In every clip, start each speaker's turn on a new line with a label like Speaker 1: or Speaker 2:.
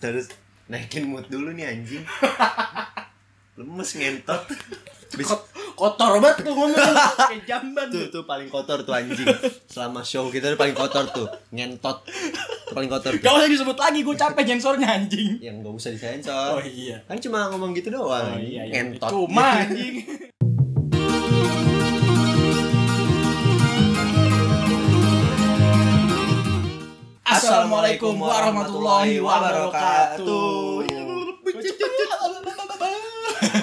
Speaker 1: terus naikin mood dulu nih anjing lemes ngentot Bis-
Speaker 2: kotor banget lu ngomong kayak jamban
Speaker 1: tuh tuh paling kotor tuh anjing selama show kita tuh paling kotor tuh ngentot Tuh paling kotor
Speaker 2: Gak
Speaker 1: tuh
Speaker 2: usah disebut lagi, gue capek sensornya anjing.
Speaker 1: yang nggak usah
Speaker 2: Oh
Speaker 1: disensor
Speaker 2: iya.
Speaker 1: kan cuma ngomong gitu doang
Speaker 2: Oh iya, iya.
Speaker 1: ngentot
Speaker 2: Cuma anjing. Assalamualaikum warahmatullahi wabarakatuh.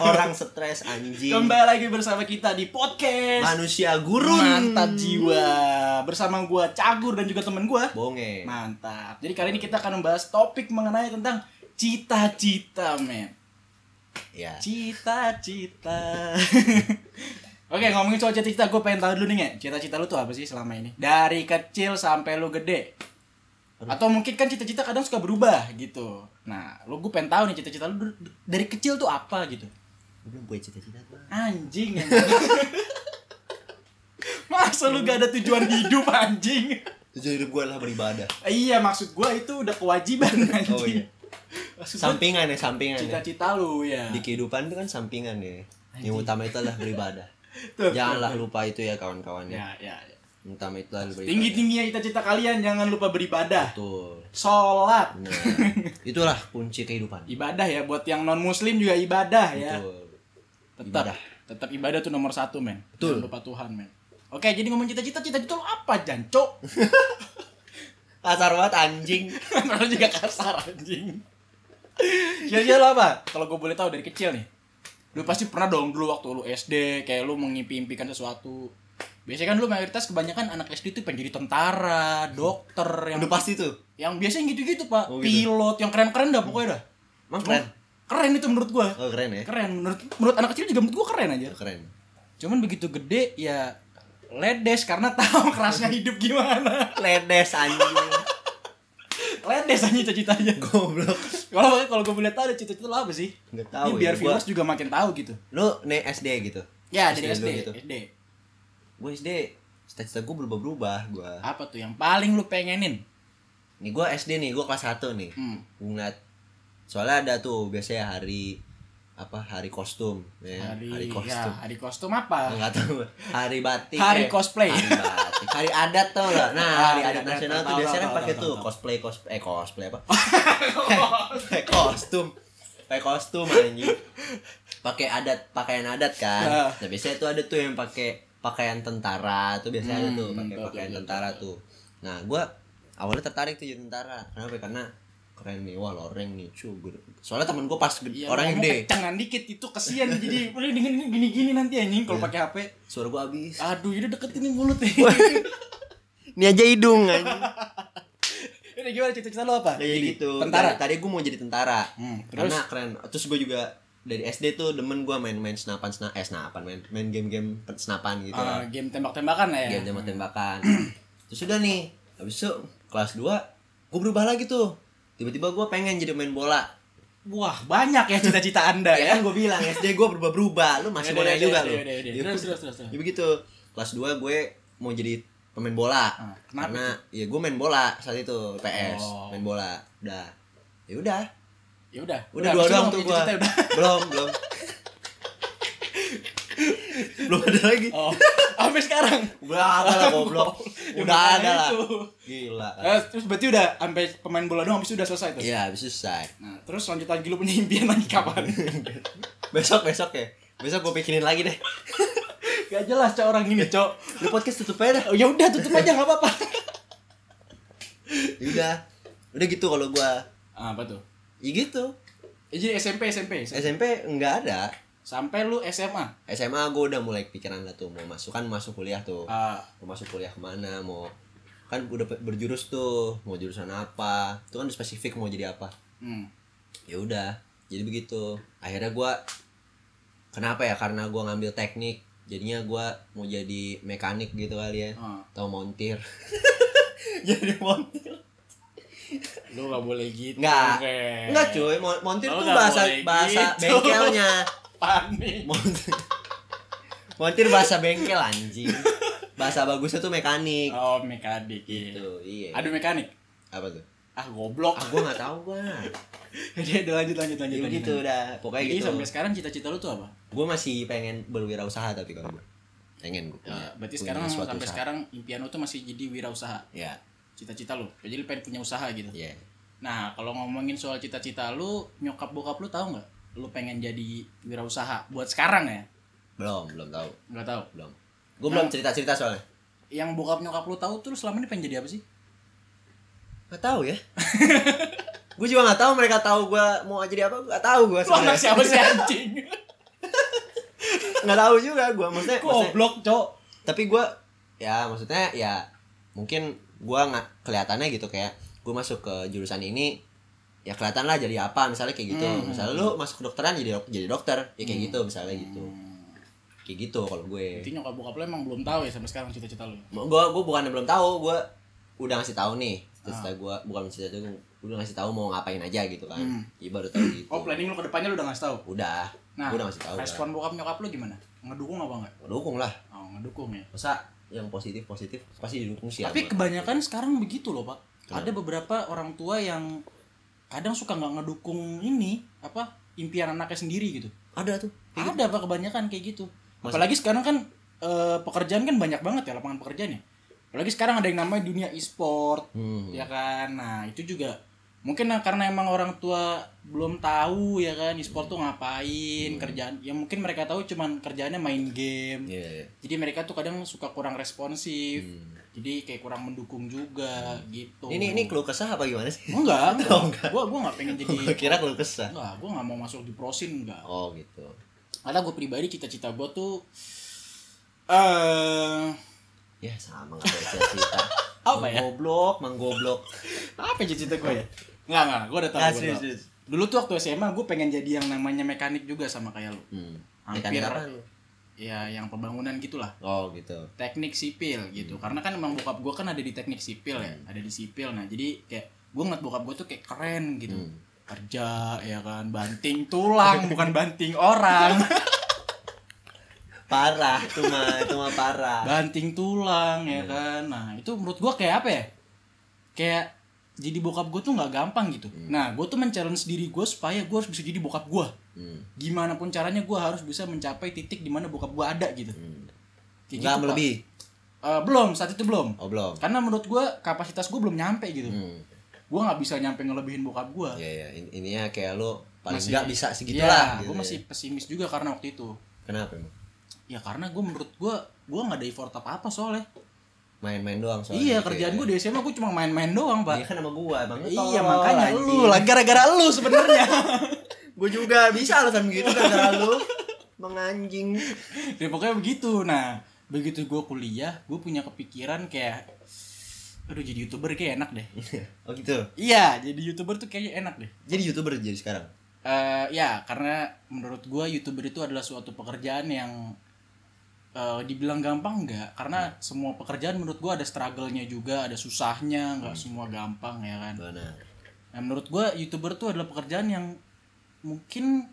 Speaker 1: orang stres anjing
Speaker 2: Kembali lagi bersama kita di podcast
Speaker 1: manusia gurun
Speaker 2: Mantap Jiwa bersama gua Cagur dan juga temen gua
Speaker 1: bonge
Speaker 2: Mantap. Jadi kali ini kita akan membahas topik mengenai tentang cita-cita, men.
Speaker 1: ya
Speaker 2: Cita-cita. Oke, ngomongin soal cita-cita, gue pengen tahu dulu nih, Nge. Cita-cita lu tuh apa sih selama ini? Dari kecil sampai lu gede. Atau mungkin kan cita-cita kadang suka berubah gitu. Nah, lu gue pengen tahu nih cita-cita lu dulu dari kecil tuh apa gitu.
Speaker 1: gue belum punya cita-cita Bang.
Speaker 2: Anjing. anjing. Masa lu gak ada tujuan hidup anjing?
Speaker 1: tujuan hidup gue adalah beribadah
Speaker 2: Iya, maksud gue itu udah kewajiban anjing.
Speaker 1: Oh, iya.
Speaker 2: Maksud gua
Speaker 1: sampingan ya sampingan ya
Speaker 2: cita-cita lu ya.
Speaker 1: di kehidupan itu kan sampingan ya
Speaker 2: Anjing.
Speaker 1: yang utama itu adalah beribadah
Speaker 2: Tuh,
Speaker 1: janganlah lupa itu ya kawan-kawan ya
Speaker 2: Ya, ya, ya.
Speaker 1: yang utama itu adalah beribadah
Speaker 2: Tinggi-tingginya cita-cita kalian jangan lupa beribadah.
Speaker 1: betul
Speaker 2: Sholat.
Speaker 1: Nah, itulah kunci kehidupan
Speaker 2: Ibadah ya buat yang non muslim juga ibadah ya.
Speaker 1: betul
Speaker 2: Tetap
Speaker 1: Ibadah.
Speaker 2: tetap ibadah tuh nomor satu men.
Speaker 1: Betul.
Speaker 2: Jangan lupa Tuhan men. Oke, jadi ngomong cita-cita, cita-cita lu apa, Janco?
Speaker 1: kasar banget anjing
Speaker 2: Lu juga kasar anjing. Cita-cita lu apa? Iya, Kalau gue boleh tahu dari kecil nih. Lu pasti pernah dong dulu waktu lu SD kayak lu mengimpi-impikan sesuatu. Biasanya kan lu mayoritas kebanyakan anak SD tuh pengen jadi tentara, dokter, yang
Speaker 1: udah pasti tuh
Speaker 2: yang biasanya gitu-gitu pak
Speaker 1: Oh, gitu.
Speaker 2: pilot yang keren-keren dah pokoknya dah
Speaker 1: emang
Speaker 2: Cuma-
Speaker 1: keren
Speaker 2: keren itu menurut gua
Speaker 1: oh keren ya Oh,
Speaker 2: keren menurut menurut anak kecil juga menurut gua keren aja
Speaker 1: keren
Speaker 2: cuman begitu gede ya ledes karena tahu kerasnya hidup gimana
Speaker 1: ledes anjing
Speaker 2: ledes aja cita-citanya
Speaker 1: goblok
Speaker 2: kalau kalau gua boleh tahu ada cita-cita lo apa sih
Speaker 1: Nggak tahu
Speaker 2: Ini biar
Speaker 1: ya, gua-
Speaker 2: viewers juga makin tahu gitu
Speaker 1: lu nih SD gitu
Speaker 2: ya dari
Speaker 1: dulu
Speaker 2: SD
Speaker 1: gitu.
Speaker 2: SD
Speaker 1: gue SD cita-cita gue berubah-berubah gue
Speaker 2: apa tuh yang paling lu pengenin
Speaker 1: nih gue SD nih gue kelas 1 nih
Speaker 2: hmm.
Speaker 1: Gua ngeliat soalnya ada tuh biasanya hari apa hari kostum ya
Speaker 2: hari,
Speaker 1: hari
Speaker 2: ya,
Speaker 1: kostum
Speaker 2: hari kostum apa
Speaker 1: nggak tahu hari batik eh.
Speaker 2: Hari cosplay.
Speaker 1: hari batik hari adat tau nggak nah hari
Speaker 2: Hari
Speaker 1: adat
Speaker 2: adat,
Speaker 1: nasional tuh
Speaker 2: tahu, tahu,
Speaker 1: biasanya kan
Speaker 2: tahu,
Speaker 1: pakai
Speaker 2: tahu,
Speaker 1: tuh
Speaker 2: tahu.
Speaker 1: cosplay cosplay eh cosplay apa pakai kostum pakai kostum anjing pakai adat pakaian adat
Speaker 2: Ah.
Speaker 1: kan nah biasanya tuh ada tuh yang pakai pakaian tentara tuh biasanya ada
Speaker 2: Hmm,
Speaker 1: tuh pakai
Speaker 2: betul,
Speaker 1: pakaian
Speaker 2: betul,
Speaker 1: tentara tuh nah gua awalnya tertarik tuh jadi tentara kenapa karena keren nih wah loreng nih cu gua- soalnya temen gua pas gede-
Speaker 2: Iya,
Speaker 1: orang
Speaker 2: ngomong
Speaker 1: gede
Speaker 2: kecengan dikit itu kesian jadi udah gini gini, gini nanti anjing
Speaker 1: Iya.
Speaker 2: kalau pakai HP
Speaker 1: suara gua habis
Speaker 2: Aduh, ini deketin nih mulut nih.
Speaker 1: ini aja hidung anjing
Speaker 2: ini gimana cita-cita lo apa?
Speaker 1: kayak gitu
Speaker 2: Tentara.
Speaker 1: tadi gue mau jadi tentara
Speaker 2: Hmm, terus?
Speaker 1: karena keren terus gue juga dari SD tuh demen gue main-main senapan sena eh senapan main main game-game pen- senapan gitu
Speaker 2: Eh, game tembak-tembakan lah ya.
Speaker 1: game tembak tembakan terus udah nih habis itu kelas 2 gue berubah lagi tuh tiba-tiba gue pengen jadi main bola
Speaker 2: Wah, banyak ya cita-cita
Speaker 1: ya
Speaker 2: Anda ya. Iya,
Speaker 1: kan gue bilang SD gue berubah-berubah lu masih mau nanya
Speaker 2: Yaudah,
Speaker 1: juga
Speaker 2: yaudah,
Speaker 1: lu
Speaker 2: yaudah, yaudah.
Speaker 1: Ya,
Speaker 2: Terus, terus, terus, terus.
Speaker 1: ya begitu kelas 2 gue mau jadi pemain bola
Speaker 2: Ah, kenapa
Speaker 1: karena ya gue main bola saat itu PS
Speaker 2: Oh.
Speaker 1: main bola udah ya udah
Speaker 2: Ya udah.
Speaker 1: Udah dua
Speaker 2: habis itu
Speaker 1: doang
Speaker 2: lo
Speaker 1: tuh
Speaker 2: punya
Speaker 1: gua.
Speaker 2: cita-cita udah.
Speaker 1: Belum, belum. belum ada lagi.
Speaker 2: Oh, sampai sekarang.
Speaker 1: Udah ada lah goblok.
Speaker 2: Ya,
Speaker 1: Udah
Speaker 2: makanya
Speaker 1: ada lah.
Speaker 2: itu.
Speaker 1: Gila.
Speaker 2: Eh, terus berarti udah sampai pemain bola doang habis itu udah selesai tuh.
Speaker 1: Iya, habis itu selesai.
Speaker 2: Nah, terus lanjut lagi lu punya impian lagi kapan?
Speaker 1: Besok besok ya. Besok gue pikirin lagi deh.
Speaker 2: Gak jelas cok orang ini, cok.
Speaker 1: Lu podcast tutup aja dah.
Speaker 2: Oh, ya udah tutup aja enggak apa-apa.
Speaker 1: Ya Udah. Udah gitu kalau gua.
Speaker 2: Ah, apa tuh?
Speaker 1: Ya gitu.
Speaker 2: Eh, Jadi SMP, SMP.
Speaker 1: SMP enggak ada.
Speaker 2: Sampai lu SMA.
Speaker 1: SMA gue udah mulai kepikiran lah tuh mau masuk kan masuk kuliah tuh.
Speaker 2: Ah,
Speaker 1: Mau masuk kuliah kemana mau kan udah berjurus tuh mau jurusan apa itu kan udah spesifik mau jadi apa
Speaker 2: hmm.
Speaker 1: ya udah jadi begitu akhirnya gua kenapa ya karena gua ngambil teknik jadinya gua mau jadi mekanik gitu kali ya
Speaker 2: Ah.
Speaker 1: atau montir jadi montir
Speaker 2: Lu gak boleh gitu.
Speaker 1: Nggak.
Speaker 2: Ren.
Speaker 1: enggak cuy mon- montir
Speaker 2: Lo
Speaker 1: tuh
Speaker 2: nggak
Speaker 1: bahasa
Speaker 2: boleh
Speaker 1: bahasa
Speaker 2: gitu.
Speaker 1: bengkelnya
Speaker 2: Panik.
Speaker 1: montir, montir bahasa bengkel anjing bahasa bagusnya tuh mekanik
Speaker 2: Oh, mekanik. Iya.
Speaker 1: Tuh, iya
Speaker 2: Aduh, mekanik.
Speaker 1: apa tuh
Speaker 2: Ah, goblok.
Speaker 1: ah gua nggak tahu gua
Speaker 2: Jadi udah lanjut lanjut lanjut.
Speaker 1: Ya
Speaker 2: lanjut,
Speaker 1: gitu
Speaker 2: lanjut.
Speaker 1: udah pokoknya
Speaker 2: Jadi
Speaker 1: gitu.
Speaker 2: sampai sekarang cita-cita lu tuh apa?
Speaker 1: Gue masih pengen berwirausaha tapi kalau gue pengen gue punya.
Speaker 2: Ya, berarti
Speaker 1: punya
Speaker 2: sekarang
Speaker 1: suatu
Speaker 2: sampai
Speaker 1: usaha.
Speaker 2: sekarang impian lu tuh masih jadi wirausaha.
Speaker 1: Ya,
Speaker 2: Cita-cita lu. Jadi lu pengen punya usaha gitu.
Speaker 1: ya.
Speaker 2: Nah, kalau ngomongin soal cita-cita lu, nyokap bokap lu tahu nggak? Lu pengen jadi wirausaha buat sekarang ya?
Speaker 1: Belum, belum tahu,
Speaker 2: Nggak tahu.
Speaker 1: belum. Gue
Speaker 2: Nah.
Speaker 1: belum cerita-cerita soalnya.
Speaker 2: Yang bokap nyokap lu tahu tuh lu selama ini pengen jadi apa sih?
Speaker 1: Gak tahu ya. gue juga gak tahu mereka tahu gue mau jadi apa, gak tahu gue
Speaker 2: Lu anak
Speaker 1: sebenarnya.
Speaker 2: siapa sih anjing?
Speaker 1: Gak tahu juga gue maksudnya. maksudnya-
Speaker 2: Goblok, Cok.
Speaker 1: tapi gue ya maksudnya ya mungkin gue nggak kelihatannya gitu kayak gue masuk ke jurusan ini ya kelihatan lah jadi apa misalnya kayak gitu
Speaker 2: Hmm.
Speaker 1: misalnya lu masuk kedokteran jadi dok- jadi dokter ya kayak
Speaker 2: Hmm.
Speaker 1: gitu misalnya gitu kayak gitu kalau gue
Speaker 2: Berarti nyokap bokap lu emang belum tahu ya sampai sekarang cita-cita lu.
Speaker 1: gue gue bukan belum tahu gue udah ngasih tahu nih
Speaker 2: Ah.
Speaker 1: cita-cita gue bukan cita-cita gue udah ngasih tahu mau ngapain aja gitu kan
Speaker 2: Hmm.
Speaker 1: jadi baru tahu gitu
Speaker 2: Oh, planning lu ke depannya lu udah ngasih tahu.
Speaker 1: udah
Speaker 2: Nah,
Speaker 1: gue udah ngasih tahu kan.
Speaker 2: respon bokap nyokap lu gimana? Ngedukung apa enggak?
Speaker 1: dukung lah
Speaker 2: Oh, ngedukung ya.
Speaker 1: masa yang positif positif pasti didukung sih
Speaker 2: Tapi
Speaker 1: sama-
Speaker 2: kebanyakan sekarang begitu loh, Pak.
Speaker 1: Iya, Kenapa?
Speaker 2: Ada beberapa orang tua yang kadang suka nggak ngedukung ini apa impian anaknya sendiri gitu.
Speaker 1: ada tuh
Speaker 2: Ada Pak kebanyakan kayak gitu.
Speaker 1: Mas-
Speaker 2: Apalagi sekarang kan eh, pekerjaan kan banyak banget ya lapangan pekerjaan ya. Apalagi sekarang ada yang namanya dunia e-sport,
Speaker 1: Hmm.
Speaker 2: ya kan nah itu juga mungkin nah, karena emang orang tua belum tahu ya kan e-sport tuh
Speaker 1: Hmm.
Speaker 2: ngapain kerjaan ya mungkin mereka tahu cuman kerjaannya main game
Speaker 1: Iya, iya.
Speaker 2: jadi mereka tuh kadang suka kurang responsif
Speaker 1: Hmm.
Speaker 2: jadi kayak kurang mendukung juga gitu
Speaker 1: Ini ini keluh kesah apa gimana sih?
Speaker 2: enggak enggak
Speaker 1: Oh, enggak.
Speaker 2: gua gua nggak pengen jadi
Speaker 1: Gua kira keluh kesah.
Speaker 2: enggak gua nggak mau masuk di prosin enggak
Speaker 1: Oh gitu.
Speaker 2: karena gue pribadi cita-cita gue tuh eh
Speaker 1: Ya sama nggak ada cerita.
Speaker 2: Apa ya?
Speaker 1: Menggoblok, menggoblok.
Speaker 2: apa ya cita-cita gue ya enggak enggak gue udah tahu,
Speaker 1: Ah,
Speaker 2: gua
Speaker 1: serius,
Speaker 2: tahu.
Speaker 1: serius.
Speaker 2: dulu tuh waktu SMA gue pengen jadi yang namanya mekanik juga sama kayak lu
Speaker 1: Hmm. Mekanik
Speaker 2: Hampir.
Speaker 1: apa?
Speaker 2: ya yang pembangunan gitulah
Speaker 1: Oh gitu.
Speaker 2: teknik sipil gitu
Speaker 1: Hmm.
Speaker 2: karena kan emang bokap gue kan ada di teknik sipil ya ada di sipil nah jadi kayak gue ngeliat bokap gue tuh kayak keren gitu
Speaker 1: Hmm.
Speaker 2: kerja ya kan banting tulang bukan banting orang
Speaker 1: Parah itu mah, itu mah parah.
Speaker 2: banting tulang
Speaker 1: Iya.
Speaker 2: ya kan nah itu menurut gue kayak apa ya kayak jadi bokap gue tuh nggak gampang gitu
Speaker 1: Iya.
Speaker 2: nah gue tuh men-challenge diri gue supaya gue harus bisa jadi bokap gue
Speaker 1: Hmm.
Speaker 2: gimana pun caranya gue harus bisa mencapai titik di mana bokap gue ada gitu
Speaker 1: Hmm. Nggak
Speaker 2: Kayak gitu, Pak.
Speaker 1: melebih.
Speaker 2: Eh, belum saat itu belum
Speaker 1: Oh belum.
Speaker 2: karena menurut gue kapasitas gue belum nyampe gitu
Speaker 1: Hmm.
Speaker 2: gue nggak bisa nyampe ngelebihin bokap gue
Speaker 1: Ya ya, In- ininya kayak lu paling
Speaker 2: Masih-
Speaker 1: nggak bisa segitulah. gitu ya.
Speaker 2: gue Ya, masih pesimis juga karena waktu itu
Speaker 1: Kenapa emang?
Speaker 2: ya karena gue menurut gue gue nggak ada effort apa apa soalnya
Speaker 1: Main-main doang soalnya. gitu ya.
Speaker 2: iya kerjaan gue di SMA gue cuma main-main doang pak
Speaker 1: Iya kan sama gua, Bang.
Speaker 2: Iya makanya lu lah gara-gara lu sebenarnya.
Speaker 1: Gue juga bisa alasan gitu gara-gara lu. Menganjing.
Speaker 2: ya pokoknya begitu. Nah, begitu gue kuliah, gue punya kepikiran kayak aduh jadi YouTuber kayak enak deh.
Speaker 1: Oh gitu.
Speaker 2: iya, jadi YouTuber tuh kayaknya enak deh.
Speaker 1: Jadi YouTuber jadi sekarang.
Speaker 2: Eh ya, karena menurut gue YouTuber itu adalah suatu pekerjaan yang eh, dibilang gampang nggak? Karena semua pekerjaan menurut gue ada struggle-nya juga, ada susahnya, nggak semua gampang ya kan.
Speaker 1: Benar.
Speaker 2: Nah, menurut gue youtuber tuh adalah pekerjaan yang mungkin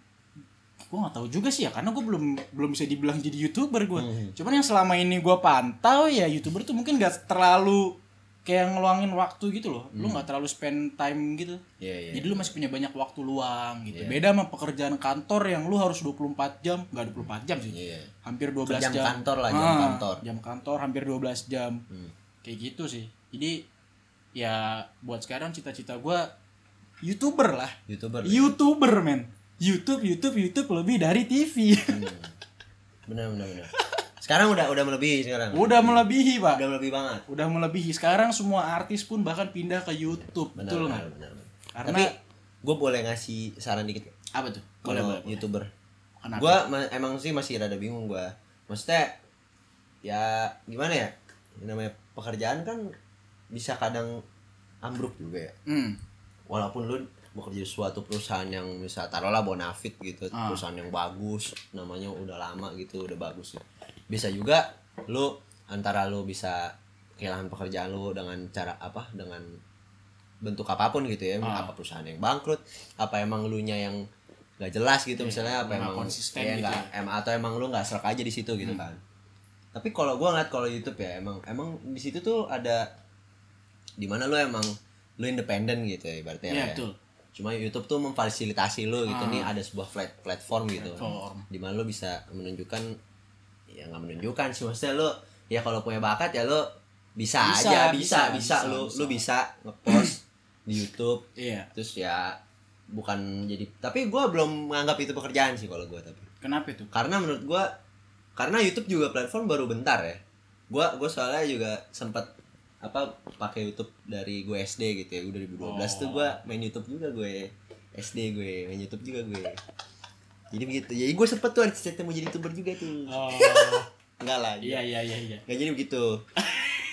Speaker 2: gue nggak tahu juga sih ya karena gue belum belum bisa dibilang jadi youtuber gue.
Speaker 1: Hmm.
Speaker 2: Cuman yang selama ini gue pantau ya youtuber tuh mungkin gak terlalu kayak ngeluangin waktu gitu loh. Lu nggak terlalu spend time gitu.
Speaker 1: Hmm. Iya, iya.
Speaker 2: Jadi lu masih punya banyak waktu luang gitu.
Speaker 1: Iya.
Speaker 2: Beda sama pekerjaan kantor yang lu harus 24 jam, nggak 24 jam sih.
Speaker 1: Iya.
Speaker 2: Hampir 12
Speaker 1: Jam
Speaker 2: jam.
Speaker 1: kantor lah, jam
Speaker 2: Ah,
Speaker 1: kantor.
Speaker 2: Jam kantor hampir 12 jam
Speaker 1: Hmm.
Speaker 2: kayak gitu sih jadi ya buat sekarang cita-cita gua youtuber lah
Speaker 1: YouTuber.
Speaker 2: Iya. youtuber men YouTube YouTube YouTube lebih dari TV
Speaker 1: Hmm. benar benar benar. Sekarang udah udah melebihi sekarang.
Speaker 2: udah melebihi pak
Speaker 1: Udah melebihi banget.
Speaker 2: udah melebihi sekarang semua artis pun bahkan pindah ke YouTube
Speaker 1: Benar
Speaker 2: betul
Speaker 1: benar,
Speaker 2: nggak
Speaker 1: benar, benar.
Speaker 2: Karena-
Speaker 1: Tapi gue boleh ngasih saran dikit
Speaker 2: apa tuh boleh
Speaker 1: kalau
Speaker 2: boleh
Speaker 1: YouTuber.
Speaker 2: Kenapa?
Speaker 1: Gue emang sih masih rada bingung gue. Maksudnya ya gimana ya? Yang namanya pekerjaan kan bisa kadang ambruk juga ya.
Speaker 2: hmm.
Speaker 1: walaupun lu bekerja di suatu perusahaan yang bisa taruhlah bonafit gitu
Speaker 2: Ah.
Speaker 1: perusahaan yang bagus namanya udah lama gitu udah bagus gitu. bisa juga lu antara lu bisa kehilangan pekerjaan lu dengan cara apa dengan bentuk apapun gitu ya
Speaker 2: Ah.
Speaker 1: apa perusahaan yang bangkrut apa emang lu nya yang gak jelas gitu
Speaker 2: Iya,
Speaker 1: misalnya apa
Speaker 2: nggak
Speaker 1: emang
Speaker 2: konsisten
Speaker 1: iya,
Speaker 2: gitu Hmm.
Speaker 1: nggak- em- atau emang lu nggak serak aja di situ gitu kan tapi kalau gua ngeliat kalau YouTube ya emang emang di situ tuh ada dimana lu emang lu independen gitu ya ibaratnya
Speaker 2: Iya,
Speaker 1: ya.
Speaker 2: betul. Ah.
Speaker 1: cuma YouTube tuh memfasilitasi lo gitu nih ada sebuah flat platform gitu
Speaker 2: Platform.
Speaker 1: dimana lo bisa menunjukkan ya nggak menunjukkan sih maksudnya lo ya kalau punya bakat ya lo bisa,
Speaker 2: Bisa,
Speaker 1: aja
Speaker 2: bisa,
Speaker 1: bisa bisa,
Speaker 2: bisa,
Speaker 1: lo
Speaker 2: bisa.
Speaker 1: lo bisa ngepost di YouTube
Speaker 2: Iya.
Speaker 1: terus ya bukan jadi tapi gue belum menganggap itu pekerjaan sih kalau gue tapi
Speaker 2: Kenapa itu?
Speaker 1: karena menurut gua karena YouTube juga platform baru bentar ya gua gua soalnya juga sempat apa pakai YouTube dari gue SD gitu ya 2012 tuh gua
Speaker 2: Oh.
Speaker 1: main YouTube juga gue SD gue main YouTube juga gue jadi begitu jadi gue sempet tuh cita-cita mau jadi youtuber juga tuh
Speaker 2: Oh,
Speaker 1: enggak lah
Speaker 2: iya iya iya iya.
Speaker 1: Gak jadi begitu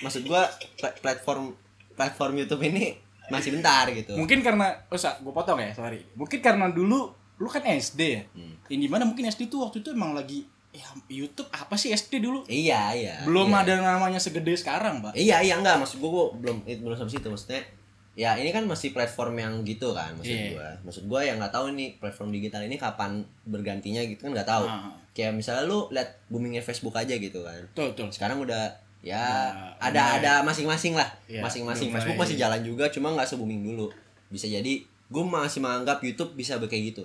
Speaker 1: maksud gua pla- platform platform YouTube ini masih bentar gitu
Speaker 2: Mungkin karena oh, gue potong ya, sorry. Mungkin karena dulu lu kan SD ya.
Speaker 1: Hmm.
Speaker 2: Ini mana mungkin SD tuh waktu itu emang lagi ya, YouTube apa sih SD dulu?
Speaker 1: iya iya
Speaker 2: Belum
Speaker 1: iya.
Speaker 2: ada namanya segede sekarang, Pak.
Speaker 1: Iya iya enggak maksud gue, gue belum it- belum sampai situ maksudnya. Ya ini kan masih platform yang gitu kan maksud
Speaker 2: Iya.
Speaker 1: gua. Maksud gua yang nggak tahu nih platform digital ini kapan bergantinya gitu kan nggak tahu.
Speaker 2: Ah.
Speaker 1: Kayak misalnya lu lihat boomingnya Facebook aja gitu kan.
Speaker 2: Betul, betul.
Speaker 1: Sekarang udah ya
Speaker 2: Nah,
Speaker 1: ada
Speaker 2: mulai.
Speaker 1: ada masing-masing lah.
Speaker 2: Iya,
Speaker 1: masing-masing
Speaker 2: udah
Speaker 1: Facebook
Speaker 2: mulai.
Speaker 1: masih jalan juga cuma nggak se booming dulu. Bisa jadi gue masih menganggap YouTube bisa be- kayak gitu.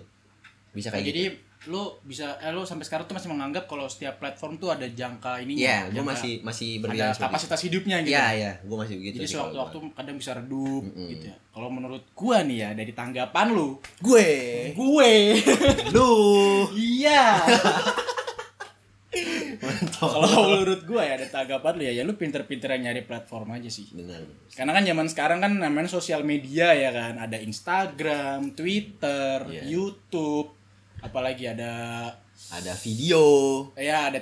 Speaker 1: Bisa kayak
Speaker 2: Jadi
Speaker 1: gitu.
Speaker 2: lu bisa eh, lu sampai sekarang tuh masih menganggap kalau setiap platform tuh ada jangka ininya.
Speaker 1: Iya, gue
Speaker 2: jangka-
Speaker 1: masih masih
Speaker 2: ada
Speaker 1: berpikiran seperti itu.
Speaker 2: kapasitas hidupnya gitu.
Speaker 1: Iya, iya, gue masih begitu.
Speaker 2: Jadi
Speaker 1: sih kalau
Speaker 2: sewaktu-waktu
Speaker 1: gua.
Speaker 2: kadang bisa redup
Speaker 1: Mm-mm.
Speaker 2: gitu ya. Kalau menurut gua nih ya dari tanggapan lu,
Speaker 1: gue,
Speaker 2: gue
Speaker 1: lu,
Speaker 2: iya.
Speaker 1: mantap.
Speaker 2: Kalau menurut gua ya dari tanggapan lu ya, ya lu pinter-pinteran nyari platform aja sih.
Speaker 1: Benar.
Speaker 2: Karena kan zaman sekarang kan namanya sosial media ya kan, ada Instagram, Twitter,
Speaker 1: Iya.
Speaker 2: YouTube, apalagi ada
Speaker 1: Ada video,
Speaker 2: ya ada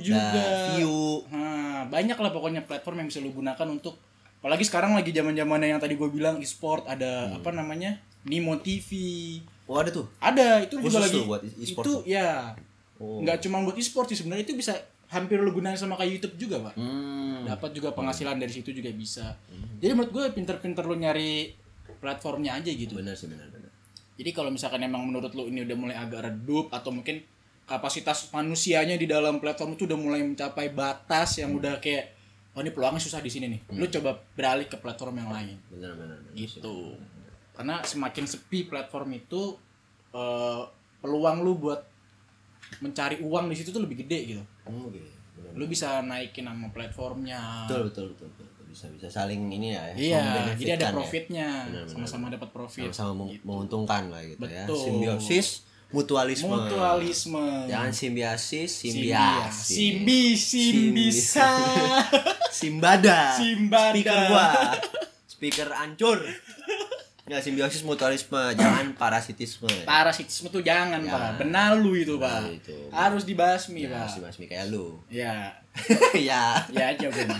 Speaker 1: ada
Speaker 2: juga.
Speaker 1: view.
Speaker 2: Nah, banyak lah pokoknya platform yang bisa lu gunakan untuk apalagi sekarang lagi zaman zamannya yang tadi gue bilang e-sport ada
Speaker 1: Hmm.
Speaker 2: apa namanya Nimo TV
Speaker 1: Oh ada tuh.
Speaker 2: ada itu
Speaker 1: Khusus
Speaker 2: juga lagi
Speaker 1: tuh buat e- e-sport
Speaker 2: itu ya
Speaker 1: Oh.
Speaker 2: nggak cuma buat e-sport sih sebenarnya itu bisa hampir lu gunain sama kayak YouTube juga pak
Speaker 1: Hmm.
Speaker 2: dapat juga penghasilan dari situ juga bisa jadi menurut gue pinter-pinter lu nyari platformnya aja gitu
Speaker 1: Benar sih benar benar.
Speaker 2: jadi kalau misalkan emang menurut lu ini udah mulai agak redup atau mungkin kapasitas manusianya di dalam platform itu udah mulai mencapai batas yang udah kayak oh ini peluangnya susah di sini nih. Lu
Speaker 1: Hmm.
Speaker 2: coba beralih ke platform yang lain
Speaker 1: Benar benar. benar.
Speaker 2: gitu. Karena semakin sepi platform itu eh, peluang lu buat mencari uang di situ tuh lebih gede gitu.
Speaker 1: Oh, gitu. Benar.
Speaker 2: Lu bisa naikin nama platformnya.
Speaker 1: Betul, betul betul betul betul. Bisa bisa saling ini ya.
Speaker 2: Iya, jadi
Speaker 1: membenefitkan
Speaker 2: ada
Speaker 1: ya.
Speaker 2: profitnya.
Speaker 1: Benar, benar,
Speaker 2: Sama-sama dapat profit.
Speaker 1: Sama-sama meng- menguntungkan lah gitu ya.
Speaker 2: Betul.
Speaker 1: Simbiosis, mutualisme.
Speaker 2: Mutualisme.
Speaker 1: Jangan simbiosis,
Speaker 2: Simbias.
Speaker 1: simbiasis.
Speaker 2: Simbi, simbisa.
Speaker 1: Simbada.
Speaker 2: Simbada.
Speaker 1: Speaker gua. Speaker ancur. Ya simbiosis mutualisme, jangan parasitisme.
Speaker 2: Parasitisme tuh jangan,
Speaker 1: Ya.
Speaker 2: Pak. Benalu itu, Pak.
Speaker 1: Benalu itu.
Speaker 2: Harus dibasmi,
Speaker 1: Ya,
Speaker 2: Pak.
Speaker 1: masih kayak lu.
Speaker 2: Ya.
Speaker 1: ya.
Speaker 2: Ya aja, Bun.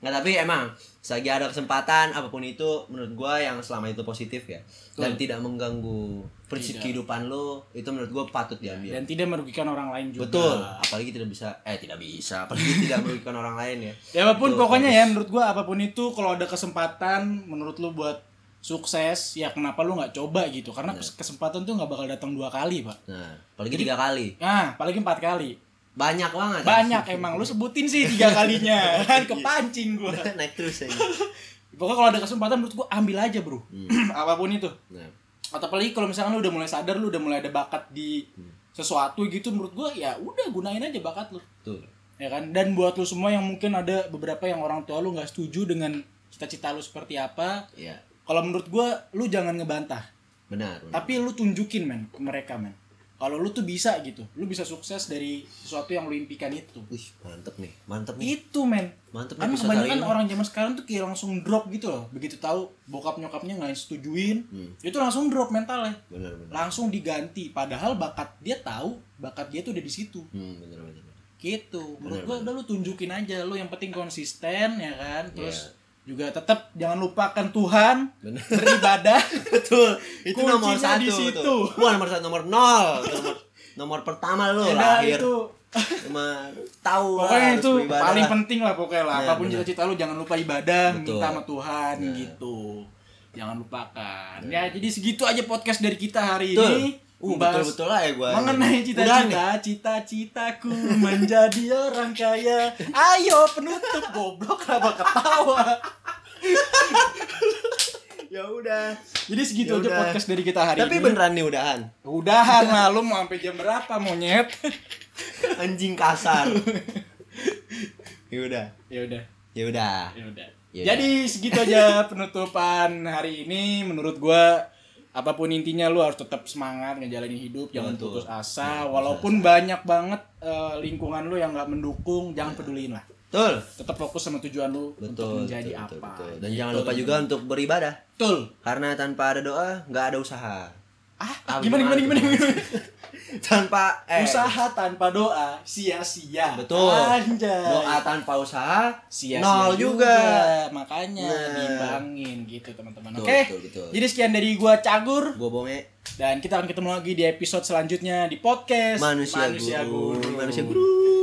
Speaker 1: Nggak, tapi emang selagi ada kesempatan apapun itu menurut gua yang selama itu positif ya dan tidak mengganggu prinsip
Speaker 2: Tidak. Iya,
Speaker 1: kehidupan lo itu menurut gua patut diambil.
Speaker 2: Dan tidak merugikan orang lain juga.
Speaker 1: Iya. Betul, apalagi tidak bisa eh tidak bisa, apalagi tidak merugikan orang lain ya.
Speaker 2: Ya apapun
Speaker 1: Betul,
Speaker 2: pokoknya
Speaker 1: bagus.
Speaker 2: ya menurut gua apapun itu kalau ada kesempatan menurut lu buat sukses ya kenapa lu nggak coba gitu karena kesempatan tuh nggak bakal datang dua kali pak
Speaker 1: Nah, apalagi tiga kali.
Speaker 2: nah paling empat kali
Speaker 1: Banyak banget.
Speaker 2: banyak emang lu sebutin sih tiga kalinya kan kepancing gua
Speaker 1: Naik terus ya.
Speaker 2: Pokoknya kalau ada kesempatan menurut gua ambil aja bro Apapun itu
Speaker 1: Nah,
Speaker 2: Atau apalagi kalau misalkan lu udah mulai sadar Lu udah mulai ada bakat di sesuatu gitu Menurut gua ya udah gunain aja bakat lu
Speaker 1: tuh.
Speaker 2: Ya kan Dan buat lu semua yang mungkin ada beberapa yang orang tua lu nggak setuju dengan cita-cita lu seperti apa
Speaker 1: Iya,
Speaker 2: Kalau menurut gua lu jangan ngebantah
Speaker 1: benar. benar.
Speaker 2: Tapi lu tunjukin men ke mereka men Kalau lu tuh bisa gitu Lu bisa sukses dari sesuatu yang lu impikan itu
Speaker 1: Wih, mantep nih. Mantep nih.
Speaker 2: itu men
Speaker 1: Mantep
Speaker 2: kan
Speaker 1: nih episode kali
Speaker 2: kebanyakan
Speaker 1: ini.
Speaker 2: orang zaman sekarang tuh kayak langsung drop gitu loh begitu tahu bokap nyokapnya nggak setujuin
Speaker 1: Hmm.
Speaker 2: itu langsung drop mentalnya
Speaker 1: Benar, benar.
Speaker 2: langsung diganti padahal bakat dia tahu bakat dia tuh udah di situ
Speaker 1: Hmm, benar, benar. benar.
Speaker 2: gitu menurut gua udah lu tunjukin aja lu yang penting konsisten ya kan
Speaker 1: Iya.
Speaker 2: terus juga tetap jangan lupakan Tuhan
Speaker 1: Benar.
Speaker 2: beribadah
Speaker 1: Betul. Itu nomor
Speaker 2: Kuncinya
Speaker 1: satu
Speaker 2: di situ.
Speaker 1: tuh. Bukan nomor satu, nomor nol. Nomor, nomor pertama lo
Speaker 2: Udah,
Speaker 1: lahir.
Speaker 2: Nah, itu
Speaker 1: Cuma tahu lah,
Speaker 2: pokoknya
Speaker 1: harus
Speaker 2: itu
Speaker 1: beribadah
Speaker 2: paling
Speaker 1: lah.
Speaker 2: penting lah pokoknya lah
Speaker 1: Iya,
Speaker 2: apapun
Speaker 1: benar.
Speaker 2: cita-cita lu jangan lupa ibadah
Speaker 1: Betul.
Speaker 2: minta sama Tuhan
Speaker 1: Iya.
Speaker 2: gitu jangan lupakan ya jadi segitu aja podcast dari kita hari
Speaker 1: Betul.
Speaker 2: ini
Speaker 1: Uh,
Speaker 2: Membahas
Speaker 1: betul-betul lah ya gua.
Speaker 2: mengenai
Speaker 1: Udah
Speaker 2: cita-cita cita-citaku menjadi orang kaya ayo penutup goblok kenapa ketawa
Speaker 1: Ya ya udah
Speaker 2: Jadi
Speaker 1: Ya
Speaker 2: segitu aja
Speaker 1: udah.
Speaker 2: podcast dari kita hari
Speaker 1: tapi
Speaker 2: ini.
Speaker 1: beneran nih udahan
Speaker 2: Udahan lah lu mau sampai jam berapa monyet?
Speaker 1: anjing kasar ya udah
Speaker 2: ya udah,
Speaker 1: ya udah
Speaker 2: ya udah.
Speaker 1: Ya
Speaker 2: Jadi segitu aja penutupan hari ini menurut gua apapun intinya lu harus tetap semangat ngejalanin hidup, jangan
Speaker 1: Betul.
Speaker 2: putus asa walaupun banyak banget eh, lingkungan lu yang nggak mendukung, jangan peduliin lah.
Speaker 1: betul
Speaker 2: Tetap fokus sama tujuan lu untuk
Speaker 1: betul
Speaker 2: menjadi
Speaker 1: betul,
Speaker 2: apa.
Speaker 1: betul, betul. dan jangan lupa juga untuk beribadah
Speaker 2: Betul.
Speaker 1: karena tanpa ada doa nggak ada usaha
Speaker 2: Ah,
Speaker 1: Ah,
Speaker 2: gimana gimana
Speaker 1: gimana,
Speaker 2: gimana? gimana?
Speaker 1: tanpa eh,
Speaker 2: Usaha tanpa doa sia-sia.
Speaker 1: betul
Speaker 2: Anjay.
Speaker 1: doa tanpa usaha
Speaker 2: sia-sia
Speaker 1: nol juga,
Speaker 2: makanya
Speaker 1: Nah.
Speaker 2: diimbangin gitu teman-teman
Speaker 1: Betul,
Speaker 2: oke
Speaker 1: betul, betul.
Speaker 2: jadi sekian dari gua cagur
Speaker 1: gue bonge
Speaker 2: dan kita akan ketemu lagi di episode selanjutnya di podcast
Speaker 1: manusia, guru. manusia guru